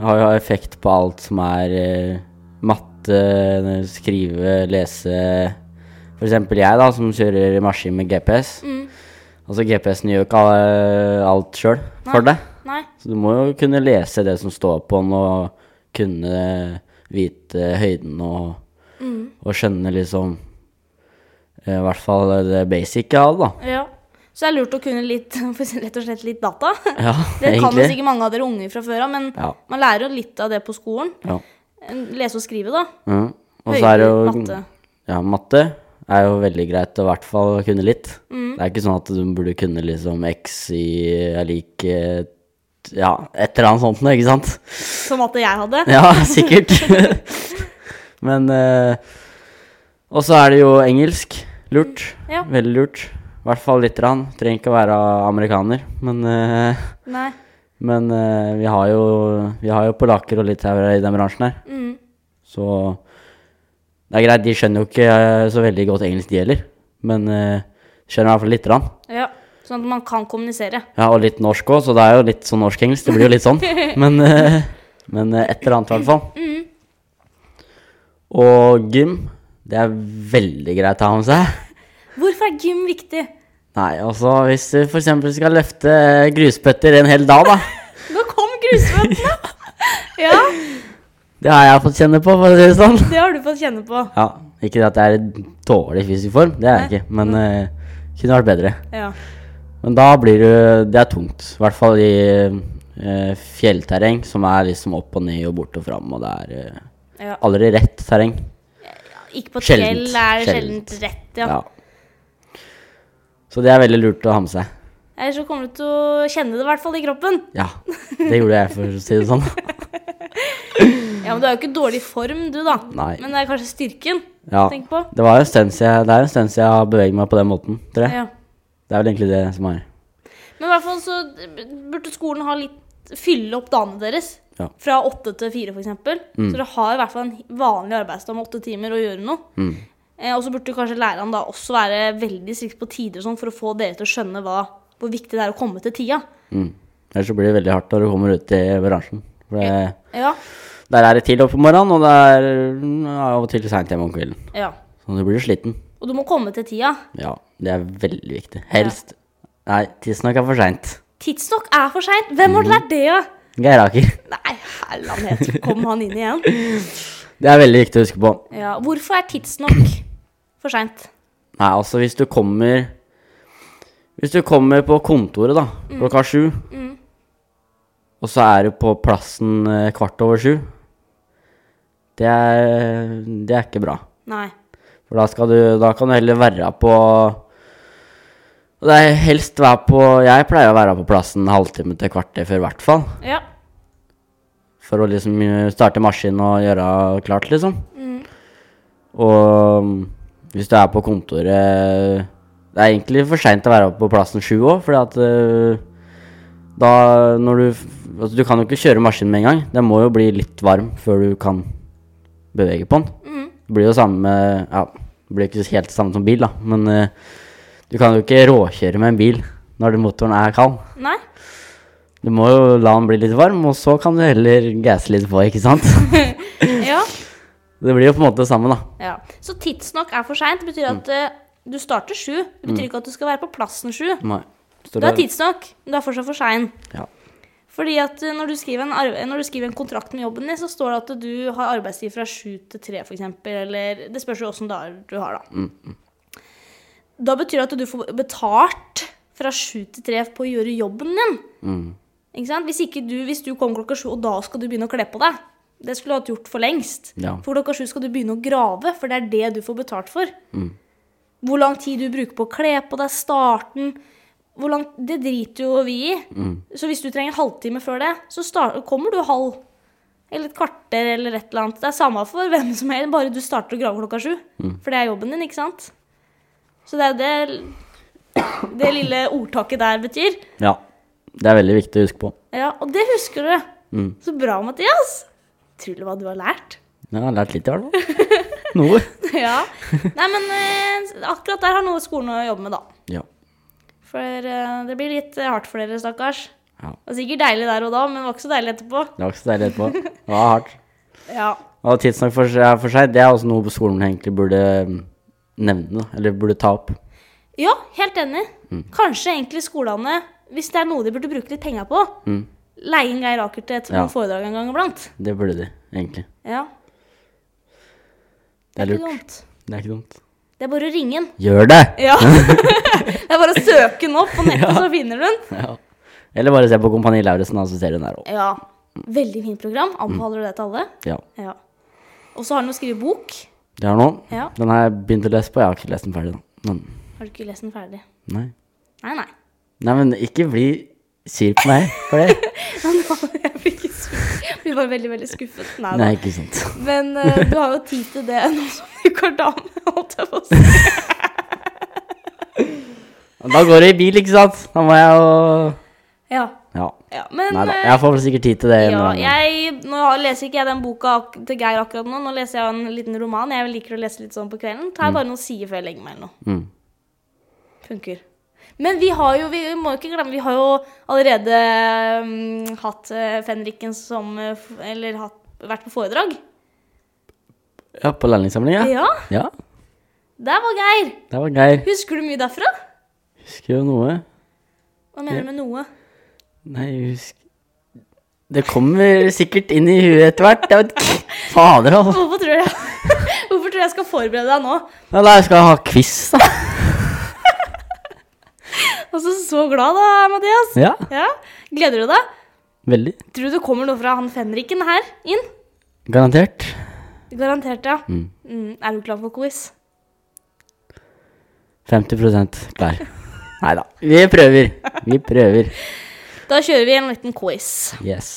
har jo effekt på alt som er eh, matte, skrive, lese For eksempel jeg, da, som kjører maskin med GPS. Mm. Altså, GPS-en gjør ikke eh, alt sjøl for deg. Nei? Så du må jo kunne lese det som står på den, og kunne vite høyden og, Mm. og skjønne liksom eh, I hvert fall det basic jeg hadde, da. Ja. Så det er lurt å kunne litt, for å si- rett og slett litt data. Ja, Det kan jo egentlig. sikkert mange av dere unge fra før av, men Ja. man lærer jo litt av det på skolen. Ja. Lese og skrive, da. Mm. Og så er det jo matte. Ja, matte er jo veldig greit å i hvert fall kunne litt. Mm. Det er ikke sånn at du burde kunne liksom x i er lik eh, t- Ja, et eller annet sånt noe, ikke sant? Som at jeg hadde. Ja, sikkert. Men eh, Og så er det jo engelsk. Lurt. Ja. Veldig lurt. I hvert fall lite grann. Trenger ikke å være amerikaner. Men, eh, Nei. men eh, vi, har jo, vi har jo polakker og litauere i den bransjen her. Mm. Så det er greit, de skjønner jo ikke eh, så veldig godt engelsk, de heller. Men eh, Skjønner i hvert fall lite grann. Ja. Sånn at man kan kommunisere. Ja, og litt norsk òg, så det er jo litt sånn norsk-engelsk. Det blir jo litt sånn. Men, eh, men eh, et eller annet, i hvert fall. Og gym, det er veldig greit å ha med seg. Hvorfor er gym viktig? Nei, altså hvis du f.eks. skal løfte gruspøtter en hel dag, da. Nå kom grusføttene! ja, Det har jeg fått kjenne på, for å si det sånn. det har du fått kjenne på. Ja, Ikke det at jeg er i dårlig fysisk form, det er jeg ikke, men eh, kunne vært bedre. Ja. Men da blir du Det er tungt. I hvert fall i eh, fjellterreng, som er liksom opp og ned og bort og fram, og det er eh, ja. aldri rett terreng. Ikke på Sjeldent, fjell er det sjeldent. sjeldent rett, Ja. ja. Så det er veldig lurt å ha med seg. Ellers så kommer du til å kjenne det i hvert fall i kroppen. Ja, det gjorde jeg, for å si det sånn. Ja, men du er jo ikke i dårlig form, du, da. Nei. Men det er kanskje styrken. Ja. Tenk på. Det, var jo en stund siden jeg, det er jo en stund siden jeg har beveget meg på den måten, tror jeg. Ja. Det er vel egentlig det som er Men i hvert fall så burde skolen ha litt Fylle opp dagene deres. Ja. Fra åtte til fire, f.eks. eksempel Så dere har i hvert fall en vanlig arbeidsdag med åtte timer å gjøre noe. Eh, og så burde kanskje læreren da også være veldig strikt på tider og sånn for å få dere til å skjønne hva, hvor viktig det er å komme til tida. mm. Ellers så blir det veldig hardt når du kommer ut i bransjen. For det, Ja. der er det tidlig opp om morgenen, og det er mm, av og til seint hjemme om kvelden. ja. Så du blir sliten. Og du må komme til tida. Ja, det er veldig viktig. Helst Nei, tidsnok er for seint. Tidsnok er for seint. Hvem har lært det? Ja? Geiraker. Nei, herland het, kom han inn igjen. Det er veldig viktig å huske på. Ja, hvorfor er tidsnok for seint? Nei, altså hvis du kommer Hvis du kommer på kontoret da klokka sju, og så er du på plassen eh, kvart over sju det er, det er ikke bra. Nei. For da, skal du, da kan du heller være på og Det er helst være på Jeg pleier å være på plassen en halvtime til kvarter før, i hvert fall. Ja. For å liksom eh, starte maskinen og gjøre klart, liksom. Og mm, hvis du er på kontoret eh, Det er egentlig for seint å være på plassen sju òg, fordi at eh, da når du f- Altså, du kan jo ikke kjøre maskinen med en gang. Den må jo bli litt varm før du kan bevege på den. Det blir jo samme Ja, det blir ikke helt samme som bil, da, men eh, du kan jo ikke råkjøre med en bil når motoren er kald. Nei. Du må jo la den bli litt varm, og så kan du heller gasse litt på, ikke sant? Ja. Det blir jo på en måte det samme, da. ja. Så tidsnok er for seint betyr at eh, du starter sju. Det betyr ikke at du skal være på plassen sju. Nei. Står Du er det- tidsnok, men du er fortsatt for sein. Ja. Fordi at eh, når du, skriver en arve, når du skriver en kontrakt med jobben din, så står det at du har arbeidstid fra sju til tre, f.eks. Eller det spørs jo åssen dager du har, da. Da betyr det at du får betalt fra sju til tre på å gjøre jobben din. Ikke sant? Hvis, ikke du, hvis du kommer klokka sju, og da skal du begynne å kle på deg Det skulle du hatt gjort for lengst. Ja. For klokka sju skal du begynne å grave, for det er det du får betalt for. Hvor lang tid du bruker på å kle på deg, starten hvor lang, Det driter jo vi i. Så hvis du trenger en halvtime før det, så start, kommer du halv eller et kvarter eller et eller annet. Det er samme for hvem som helst, bare du starter å grave klokka sju. For det er jobben din, ikke sant? Så det er jo det det lille ordtaket der betyr. Ja. Det er veldig viktig å huske på. Ja, Og det husker du. Mm. Så bra, Mathias. Utrolig hva du har lært. Jeg har lært litt, i hvert fall. Noe. ja. Nei, men eh, akkurat der har noe skolen å jobbe med, da. Ja. For eh, det blir litt eh, hardt for dere, stakkars. ja. Det var sikkert deilig der og da, men det var ikke så deilig etterpå. Det var ikke så deilig etterpå. Det var hardt. Ja. Og tidsnok for, seg- for seg, det er også noe skolen egentlig burde mm, nevne, da. Eller burde ta opp. Ja, helt enig. Mm. Kanskje egentlig skolene, hvis det er noe de burde bruke litt penger på, leie inn Geir Aker til et Mm. Ja. noen foredrag en gang iblant. Det burde de, egentlig. Ja, Det er ikke lurt. dumt. Det er ikke dumt. Det er bare å ringe den. Gjør det! Ja. det er bare å søke den opp på nettet, så finner du den. Ja. Eller bare se på Kompani Lauritzen, da, så ser du den der òg. Ja. Veldig fint program. Anbefaler du det til alle? Ja. Ja. Og så har den jo skrevet bok. Det er noe. Ja. Den har jeg begynt å lese på. Jeg har ikke lest den ferdig, da. Men, Har du ikke lest den ferdig? nei. Nei, nei. Nei, men ikke bli sur på meg for det. Jeg blir ikke skuffet. Blir bare veldig, veldig skuffet. Nei, da. Nei, ikke sant. Men eh, du har jo tid til det nå som du går dame, holdt jeg på å si. Da går det i bil, ikke sant? Da må jeg jo Ja. Ja. ja. Men Nei da. eh, Jeg får vel sikkert tid til det. en Ja, eller annen gang. jeg, nå leser ikke jeg den boka ak til Geir akkurat nå. Nå leser jeg en liten roman. Jeg liker å lese litt sånn på kvelden. Tar jeg bare noen sider før jeg legger meg eller noe. Mm. Funker. Men vi har jo, vi må jo ikke glemme, vi har jo allerede mm, hatt eh, Fenriken som eh, f- Eller hatt, vært på foredrag. Ja, på lærlingsamling, ja. Ja, Ja, der var Geir. det var Geir. Husker du mye derfra? Husker jo noe. Hva mener du med noe? Nei, jeg husker Det kommer sikkert inn i huet etter hvert. Jeg vet ikke. Fader, altså. Hvorfor tror du jeg, hvorfor tror du jeg skal forberede deg nå? Ja, da skal jeg ha quiz, da. Altså, så glad da, Mathias. Ja, Ja, Gleder du deg? veldig. Tror du det kommer noe fra han Fenriken her inn? Garantert. Garantert, ja. Mm. Mm, er du klar for quiz? 50 klar. Nei da. Vi prøver. Vi prøver. Da kjører vi en liten quiz. Yes.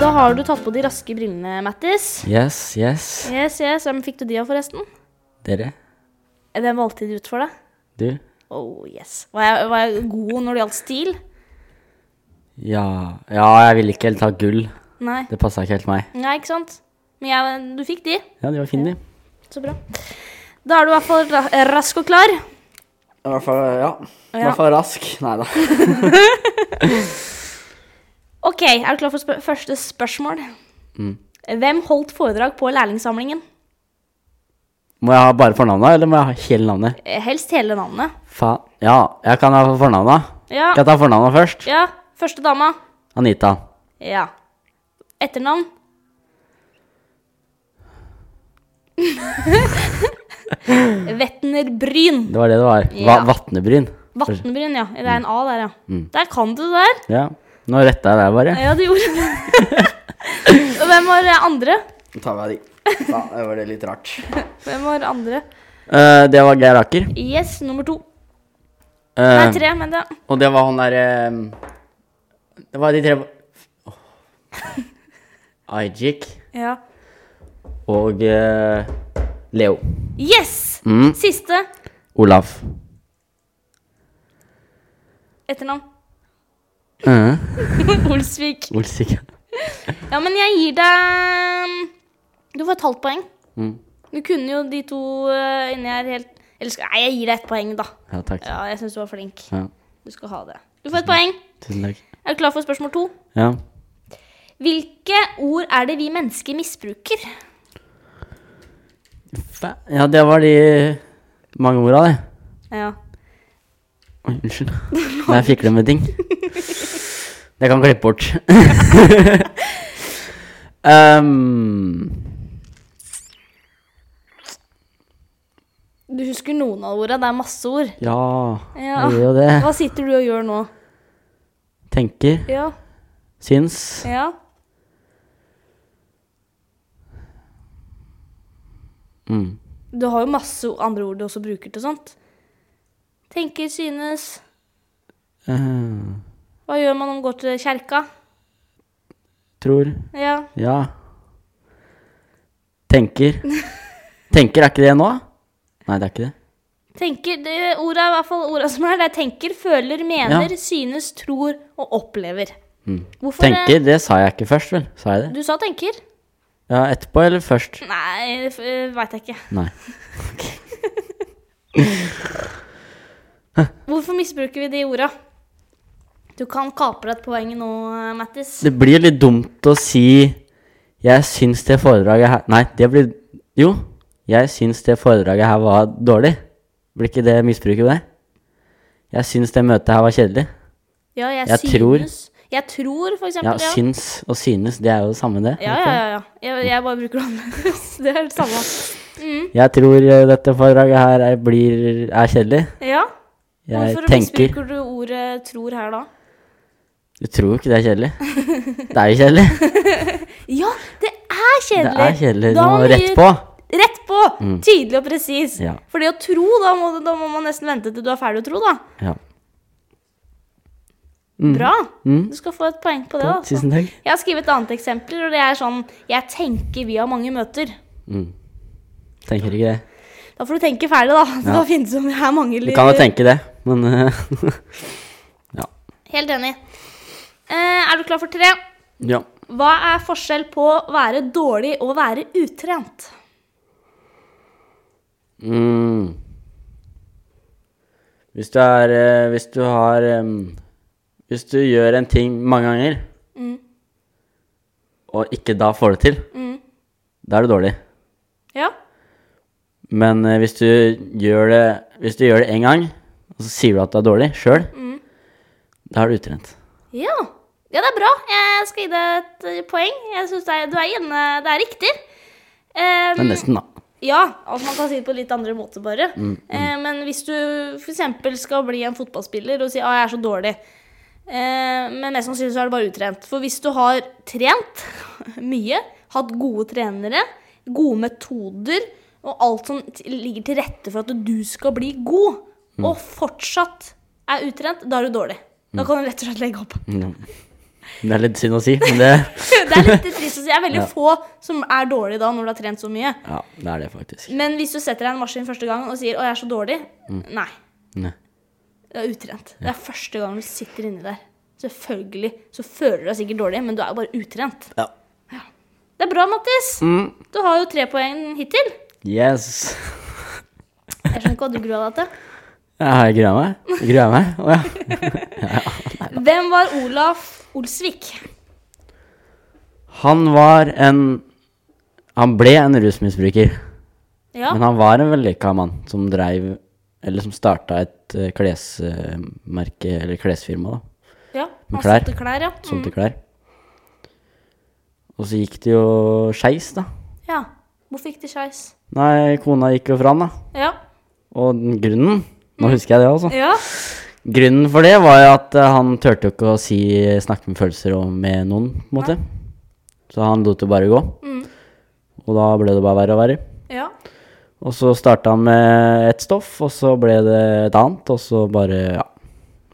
Da har du tatt på de raske brillene, Mattis. Yes, yes. Yes, yes. Hvem fikk du de av, forresten? Dere. Hvem valgte de ut for deg? Du. Oh, yes. Var jeg, var jeg god når det gjaldt stil? Ja. Ja, jeg ville ikke helt ha gull. Nei. Det passa ikke helt meg. Nei, ikke sant? Men jeg, du fikk de. Ja, de var fine, de. Så bra. Da er du i hvert fall ra rask og klar. I hvert fall, ja. I Ja. hvert fall rask. Nei da. Ok, er du klar for spør første spørsmål? Mm. Hvem holdt foredrag på lærlingsamlingen? Må jeg ha bare fornavnet, eller må jeg ha hele navnet? Eh, Helst hele navnet. Faen. Ja, jeg kan ha fornavnet. Ja. Skal jeg ta fornavnet først? ja. Første dama. Anita. Ja. Etternavn? Vetner Bryn. Det var det det var. Va Ja. Vatnebryn. Vatnbryn, ja. Det er en A der, ja. Mm. Der kan du det der. Ja. Nå retta jeg deg bare. Ja, du gjorde det. Og hvem var eh, andre? Nå tar vi av de. Faen, det var det litt rart. Hvem var andre? Eh, det var Geir Aker. Yes, nummer to. Eh, Nei, tre, men det og det var han derre Det var de tre Åh. Ajik Ja. og eh, Leo. Yes! Mm. Siste Olaf. etternavn. Uh, Olsvik. Olsik. Ja, men jeg gir deg Du får et halvt poeng. Mm. Du kunne jo de to eh, inni her helt Eller skal Nei, jeg gir deg ett poeng, da. Ja, takk. Ja, jeg syns du var flink. Ja, Du skal ha det. Du får et poeng. tusen takk. Er du klar for spørsmål to? Ja. Hvilke ord er det vi mennesker misbruker? Fa- ja, det var de mange orda, det. Ja. Oi, unnskyld. Nei, jeg fikler med ting. Det kan klippe bort. um, Du husker noen av ordene? Det er masse ord. ja, Ja. jeg gjør jo det. Hva sitter du og gjør nå? Tenker, Ja. syns, Ja. mm. Du har jo masse andre ord du også bruker til sånt. Tenker, synes eh, Hva gjør man når man går til kjerka? tror, Ja. ja. Tenker. Tenker, er ikke det nå? Nei, det er ikke det. Tenker, det ordet, i hvert fall orda som er, det er tenker, føler, mener, Ja. synes, tror og opplever. Mm. Hvorfor eh, Tenker, det sa jeg ikke først, vel? Sa jeg det? Du sa tenker? Ja, etterpå eller først? Nei, f- eh, veit jeg ikke. Nei. Hvorfor misbruker vi de orda? Du kan kapre et poeng nå, eh, Mattis. Det blir litt dumt å si Jeg syns det foredraget her Nei, det blir Jo. Jeg syns det foredraget her var dårlig. Blir ikke det misbruket det? Jeg syns det møtet her var kjedelig. Ja, jeg, Jeg tror- synes Jeg tror, for Ja, eksempel. Ja, syns og synes, det er jo det samme, det. ja, ja. ja, ja. Jeg, jeg bare bruker det annerledes. Det er det samme. Jeg tror eh, dette foredraget her er, blir, er kjedelig. Ja. Jeg Hvorfor tenker misbruker du ordet 'tror' her da? Du tror jo ikke det er kjedelig. Det er jo kjedelig. Ja, det er Det kjedelig! er kjedelig. Du Da må vi- rett på. Mm. Rett på! Tydelig og presis. Ja. For det å tro, da må, du- da må man nesten vente til du er ferdig å tro, da. Ja. Bra. Mm. Du skal få et poeng på det. Altså. Tusen takk. Jeg har skrevet et annet eksempel, og det er sånn Jeg tenker vi har mange møter. Mm. Tenker ikke det. Da får du tenke ferdig, da. Det kan finnes om her mange Du kan jo tenke det, men eh, Ja. Helt enig. Eh, er du klar for tre? Ja. Hva er forskjell på å være dårlig og å være utrent? Mm. Hvis du er eh, Hvis du har em, Hvis du gjør en ting mange ganger, og ikke da får det til, Mm. da er du dårlig. Ja. Men eh, hvis du gjør det Hvis du gjør det én gang, og så sier du at du er dårlig sjøl, da er du utrent. Ja. Ja, det er bra. Jeg skal gi deg et eh, poeng. Jeg syns det, er- du er inne Det er riktig. Eh, Men nesten, da. Ja, altså man kan si det på litt andre måter bare. Eh, men hvis du f.eks. skal bli en fotballspiller og si at ah, 'jeg er så dårlig', eh, men mest sannsynlig så er det bare utrent. For hvis du har trent mye, hatt gode trenere, gode metoder og alt som t- ligger til rette for at du skal bli god, og fortsatt er utrent, da er du dårlig. Da kan du rett og slett legge opp. Ja. Det er litt synd å si, men det Det er litt trist å si. Det er veldig få som er dårlige da, når du har trent så mye. Ja, det er det faktisk. Men hvis du setter deg i en maskin første gang og sier 'Å, jeg er så dårlig' Mm. Nei. Nei. Det er utrent. Det er første gang du sitter inni der. Selvfølgelig så føler du deg sikkert dårlig, men du er jo bare utrent. Ja. Mm. Det er bra, Mattis. Du har jo tre poeng hittil. Yes. Jeg skjønner ikke hva du grua deg til. Ja, jeg gruer meg. Jeg Gruer meg? Å ja. Hvem var Olaf Olsvik? Han var en Han ble en rusmisbruker. Ja. Men han var en vellykka mann som dreiv Eller som starta et eh, klesmerke, eller klesfirma, da. ja. med Han klær. solgte klær, ja. Mm. Solgte klær. Og så gikk det jo skeis, da. ja. Hvorfor gikk det skeis? Nei, kona gikk jo fra han, da. Ja. Og den grunnen Mm. Nå husker jeg det, altså. ja. Grunnen for det var jo at eh, han turte jo ikke å si, snakke med følelser og med noen, på en måte. Så han lot det bare gå. Mm. Og da ble det bare verre og verre. Ja. Og så starta han med et stoff, og så ble det et annet, og så bare ja,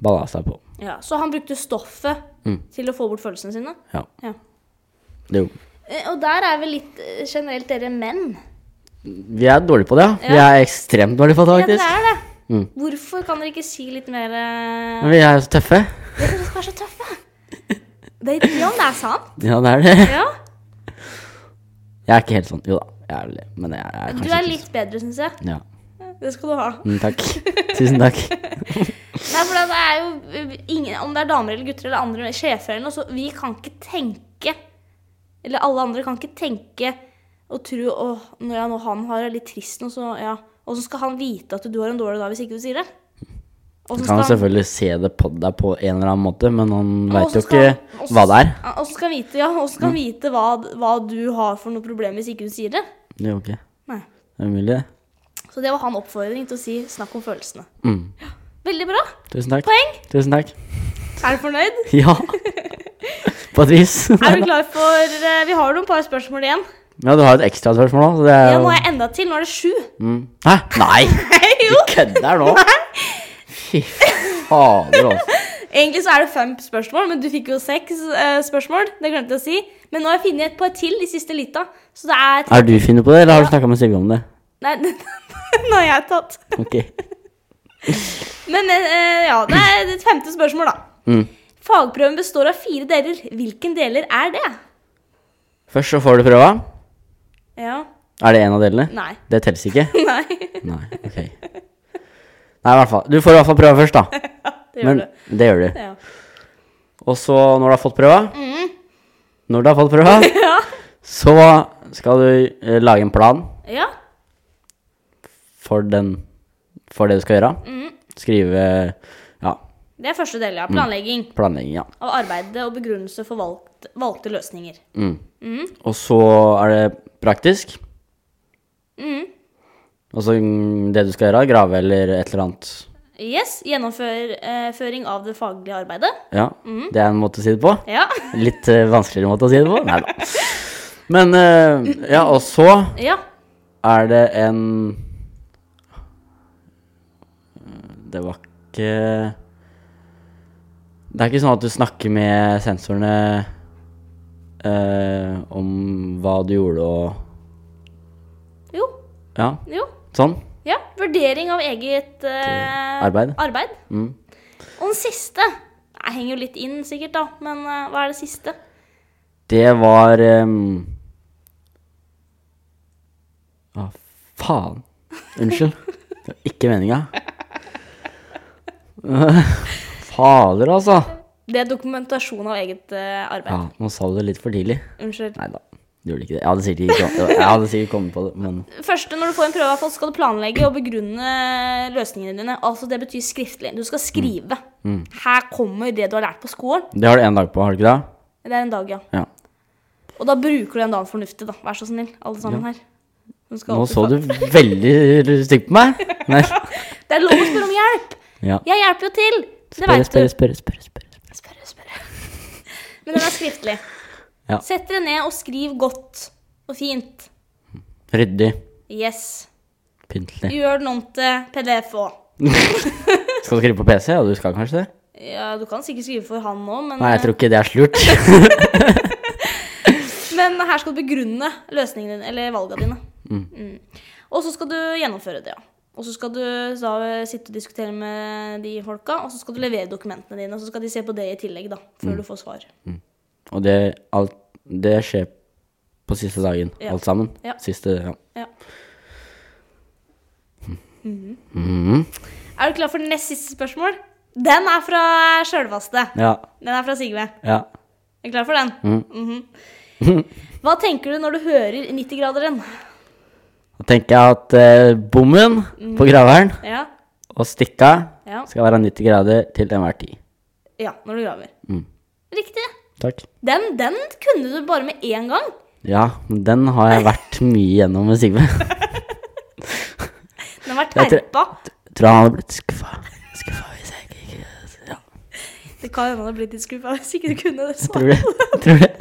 balla seg på. ja. Så han brukte stoffet Mm. til å få bort følelsene sine? Ja, Ja. det gjorde han. Eh, Og der er vel litt eh, generelt dere menn. Vi er dårlige på det, ja. Vi er ekstremt dårlige på det, Ja, faktisk. dere er det. Mm. Hvorfor kan dere ikke si litt mer eh, Men vi er jo så tøffe. Dere skal være så tøffe. Det er ikke om det er sant. Ja, det er det. Ja. Jeg er ikke helt sånn. Jo da, jeg er vel det, men jeg er Du kanskje er ikke litt bedre, syns jeg. sånn. Ja. Det skal du ha. Mm, takk. Tusen takk. Nei, for det er jo eh, ingen, Om det er damer eller gutter eller andre sjefer eller noe, så vi kan ikke tenke Eller alle andre kan ikke tenke og tro åh, når jeg nå han har det litt trist nå, så ja. Og så skal han vite at du har en dårlig dag hvis ikke du sier det. Og Du så kan skal- selvfølgelig se det på deg på en eller annen måte, men han Og veit så jo skal- ikke hva det er. Og så skal han vite, ja, og så Mm. skal han vite hva, hva du har for noe problem hvis ikke du sier det. Det er jo ikke Nei. det er umulig. Så det var han oppfordring til å si 'snakk om følelsene'. Mm. Veldig bra. Tusen takk. Poeng! Tusen takk. Er du fornøyd? Ja. På et vis. Er du klar for eh, Vi har noen par spørsmål igjen. Ja, du har et ekstra spørsmål nå. så Det er Ja, jo nå er jeg enda til. Nå er det sju. mm. Hæ? Nei! Du kødder nå? Fy fader, altså. Egentlig så er det fem spørsmål, men du fikk jo seks eh, spørsmål. Det glemte jeg å si. Men nå har jeg funnet et par til i siste lita. Så det er Er du funnet på det, eller har du snakka med Sigve om det? Nei, den har jeg tatt. Ok. Men eh, ja, det er et femte spørsmål, da. Mm. Fagprøven består av fire deler. Hvilken deler er det? Først så får du prøva. Ja. Er det en av delene? Nei. Det telles ikke? Nei. Nei, ok. Nei, i hvert fall. Du får i hvert fall prøve først, da. Det gjør du. Men det gjør du. Ja. Mm. Og så, når du har fått prøva Når du har fått prøva, Ja. så skal du eh, lage en plan ja. for, den, for det du skal gjøre. Skrive ja, Det er første Mm. del, ja. Planlegging planlegging, ja. av arbeidet og begrunnelse for valgt, valgte løsninger. Mm. Og så er det praktisk. Mm. Og så mm, det du skal gjøre, grave eller et eller annet. Yes, Gjennomføring av det faglige arbeidet. Ja, det er en måte å si det på. Ja. Litt eh, vanskeligere måte å si det på. Nei da. Men eh, ja, og så ja. Er det en eh, Det var ikke Det er ikke sånn at du snakker med sensorene eh, om hva du gjorde og Jo. Ja, Jo. sånn? Ja, vurdering av eget eh, Arbeid. Mm. Og den siste Jeg henger jo litt inn, sikkert, da, men eh, hva er det siste? Det var ehm, Hva faen? Unnskyld. Det var ikke meninga. Fader, altså. Det er dokumentasjon av eget eh, arbeid. Ja, nå sa du det litt for tidlig. Unnskyld. Nei da, du gjorde ikke det. Jeg hadde sikkert ikke kom- jeg hadde sikkert kommet på det, men Første, når du får en prøve, i hvert fall, skal du planlegge og begrunne løsningene dine. Altså, det betyr skriftlig. Du skal skrive. Mm. Her kommer det du har lært på skolen. det har du én dag på, har du ikke det? Det er en dag, ja. Ja. Og da bruker du den dagen fornuftig, da. Vær så snill, alle sammen her. Du skal Nå alltid så få- du veldig stygt på meg. Nei. Det er lov å spørre om hjelp! Ja. Jeg hjelper jo til! Det Spørre, veit du. spørre, spørre. spørre, spørre. Spørre, spørre. Men den er skriftlig. Ja. Sett dere ned og skriv godt og fint. Ryddig. Yes. Pyntelig. Gjør den om til PDF òg. Skal du skrive på PC? Ja, du skal kanskje det? Ja, du kan sikkert skrive for han òg, men, Nei, jeg tror ikke det er slurt. men her skal du begrunne løsningene dine, eller valgene dine. Mm. Og så skal du gjennomføre det, ja. Og så skal du da eh, sitte og diskutere med de folka, og så skal du levere dokumentene dine, og så skal de se på det i tillegg, da, før du får svar. Og det, alt, det skjer på siste dagen, Ja. alt sammen. Ja. Siste, ja. Ja. Mhm. Er du klar for nest siste spørsmål? Den er fra sjølvaste. ja. Den er fra Sigve. Ja. Er du klar for den? Mhm. Hva tenker du når du hører 90-graderen? Da tenker jeg at eh, bommen Mm. på graveren Ja. og stikka Ja. skal være 90 grader til enhver tid. ja, når du graver. Mm. Riktig. Takk. Den, den kunne du bare med én gang. Ja, men den har jeg vært mye gjennom med Sigve. Den var Jeg tror- terpa. Tror han hadde blitt skuffa. Skuffa hvis jeg ikke- ikke Ja, Det kan hende han hadde blitt litt skuffa hvis ikke du kunne det. tror svaret. det. Tror det.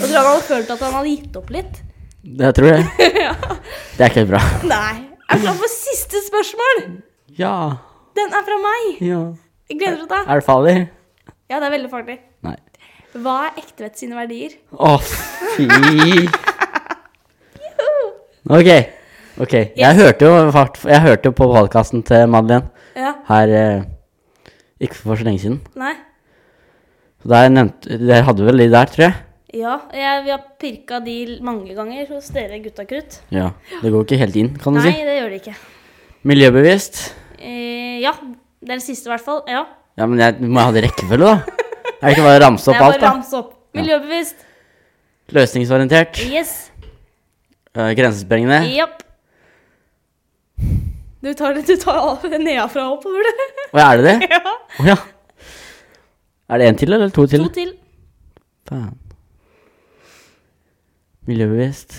Og tror han hadde følt at han hadde gitt opp litt. Jeg tror det. Det er ikke bra. Nei. Er du klar for siste spørsmål? Ja. Den er fra meg. ja. Jeg gleder meg til deg. Er det farlig? Ja, det er veldig farlig. Nei. Hva er ektevett sine verdier? Å, fy Ok. ok. Jeg hørte jo fart, jeg hørte jo på podkasten til Madeleine Ja. her eh, ikke for så lenge siden. Nei. Så der, nevnte, der hadde vi vel de der, tror jeg. Ja, jeg, vi har pirka de mange ganger hos dere gutta krutt. Ja. Det går ikke helt inn, kan du Nei, si. det gjør de ikke. Miljøbevisst. Eh, ja, det er den siste i hvert fall. Ja. Ja, men jeg du må ha det i rekkefølge, da. Er det ikke bare å ramse Det opp er alt, bare å da? ramse opp. Miljøbevisst. Løsningsorientert. Yes. eh, Grensesprengende. Japp. Du tar det du tar av nedenfra og oppover, du. Å, er det det? ja. Å ja. Er det én til, eller to til? To til. Faen. Miljøbevisst.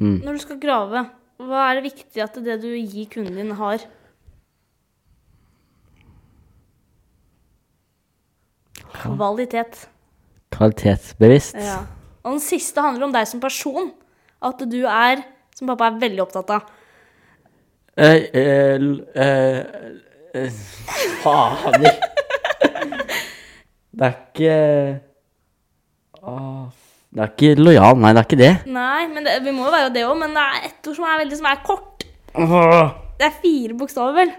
Når du skal grave, hva er det viktig at det du gir kunden din, har? Kvalitet. Kvalitetsbevisst. Ja. Og den siste handler om deg som person. At du er, som pappa er veldig opptatt av Eh, eh, l- eh, eh, Fader. Det er ikke Åh, Det er ikke lojal, nei, det er ikke det. Nei, men det, vi må jo være det òg, men det er ett ord som er veldig som er kort. Åh. Det er fire bokstaver, vel?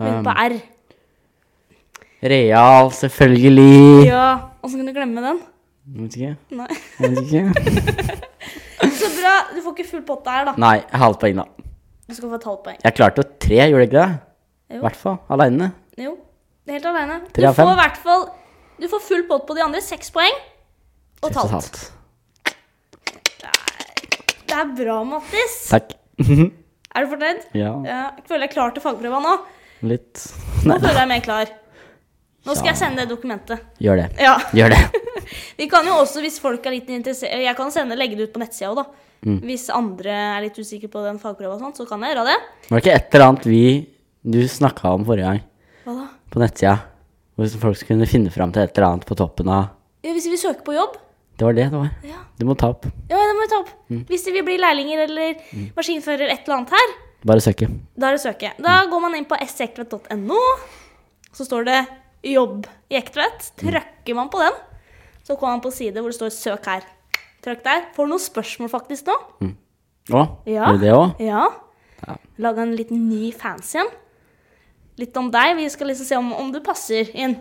Begynner på R. Um, Real, selvfølgelig. Ja, Åssen kan du glemme den? Jeg Vet ikke. Nei. jeg Vet ikke. Så bra. Du får ikke full potte her, da. Nei, halvt poeng, da. Du skal få et halvt poeng. Jeg klarte jo tre, gjorde jeg ikke det? Jo. I hvert fall aleine. Jo, det er helt aleine. Du Tre av fem. får i hvert fall Du får full pott på de andre. Seks poeng og et halvt. Det er bra, Mattis. Takk. Er du fornøyd? Ja, Ja, jeg føler jeg er klar til fagprøva nå. litt Nå Nei, føler jeg meg klar. Nå skal jeg sende det dokumentet. gjør det. Ja. Gjør det. Vi kan jo også, hvis folk er litt interessert Jeg kan sende, legge det ut på nettsida òg, da. Hvis andre er litt usikre på den fagprøva og sånn, så kan jeg gjøre det. Var det ikke et eller annet vi du snakka om forrige gang? Hva da? på nettsida. Hvor folk skulle kunne finne fram til et eller annet på toppen av Ja, hvis vi søker på jobb Det var det det var. Ja, Du må ta opp. ja det må vi ta opp. Mm. Hvis de vil bli lærlinger eller maskinfører, et eller annet her, Bare søke. Mm. Da er det søke. Da går man inn på ssekvet.no. Så står det jobb i Ektvedt. Mm. Trykker man på den, så kommer man på side hvor det står 'søk her'. Trykk der. Får noen spørsmål faktisk nå. Å, Ja. gjør du det òg? Ja. Ja. Lage en liten ny fans igjen. Litt om deg. Vi skal liksom se om, om du passer inn.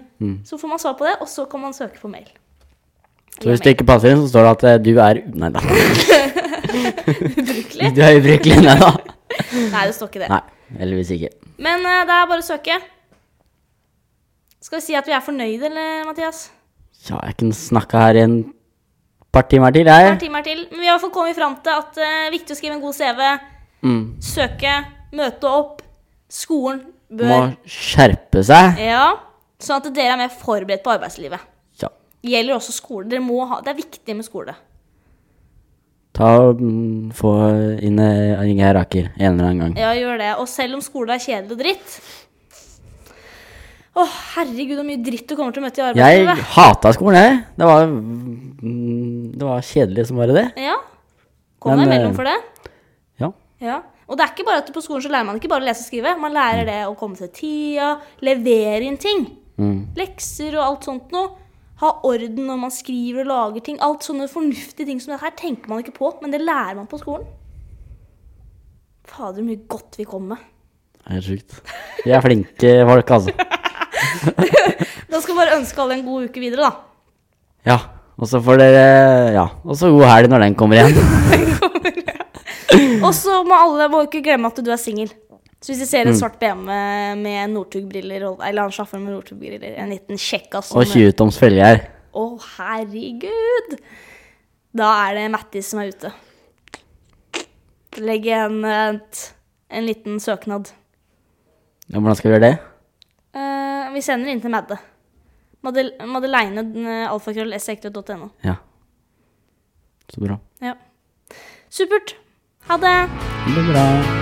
Så får man svar på det, og så kan man søke på mail. Mm. Så hvis det ikke passer inn, så står det at eh, du er Nei da. Ubrukelig? Du er ubrukelig. Nei da. Nei, det står ikke det. Nei, heldigvis ikke. Men eh, det er bare å søke. Skal vi si at vi er fornøyde, eller, Mathias? Ja, jeg kunne snakka her i en par timer til, Det er jeg. timer til. Men vi har i hvert fall kommet fram til at eh, det er viktig å skrive en god CV. Mm. Søke, møte opp. Skolen Må bør skjerpe seg. Ja. Sånn at dere er mer forberedt på arbeidslivet. Ja. Gjelder også skole. Dere må ha, det er viktig med skole. Ta mm, Få inn eh, Inge Raker en eller annen gang. Ja, gjør det. Og selv om skole er kjedelig og dritt Å, herregud, så mye dritt du kommer til å møte i Jeg arbeidslivet. hata skolen, jeg. Det var, mm, det var kjedelig som bare det. Ja. Kom Men, deg eh, imellom for det. Ja. Ja. Og det er ikke bare at på skolen så lærer man ikke bare å lese og skrive. Man lærer det å komme til tida, levere inn ting. Mm. Lekser og alt sånt noe. Ha orden når man skriver og lager ting. Alt sånne fornuftige ting som det her tenker man ikke på, men det lærer man på skolen. Fader, mye godt vi kom med. Det er Helt sjukt. Vi er flinke folk, altså. Da skal vi bare ønske alle en god uke videre, da. Ja. Og så får dere Ja. Og så god helg når den kommer igjen. Og så må alle må ikke glemme at du er singel. Så hvis de ser en svart BMW med Northug-briller, og- eller han sjåføren med Northug-briller, en liten kjekkas som- Og 20 toms følge her. Å, herregud! Da er det Mattis som er ute. Legg igjen et, en liten søknad. Ja, hvordan skal vi gjøre det? Eh, vi sender inn til Madde. Madel- Madeleine den, eh, alfakrøll sektorett.no. Ja. Så bra. Ja. Supert. Ha det. Det blir bra.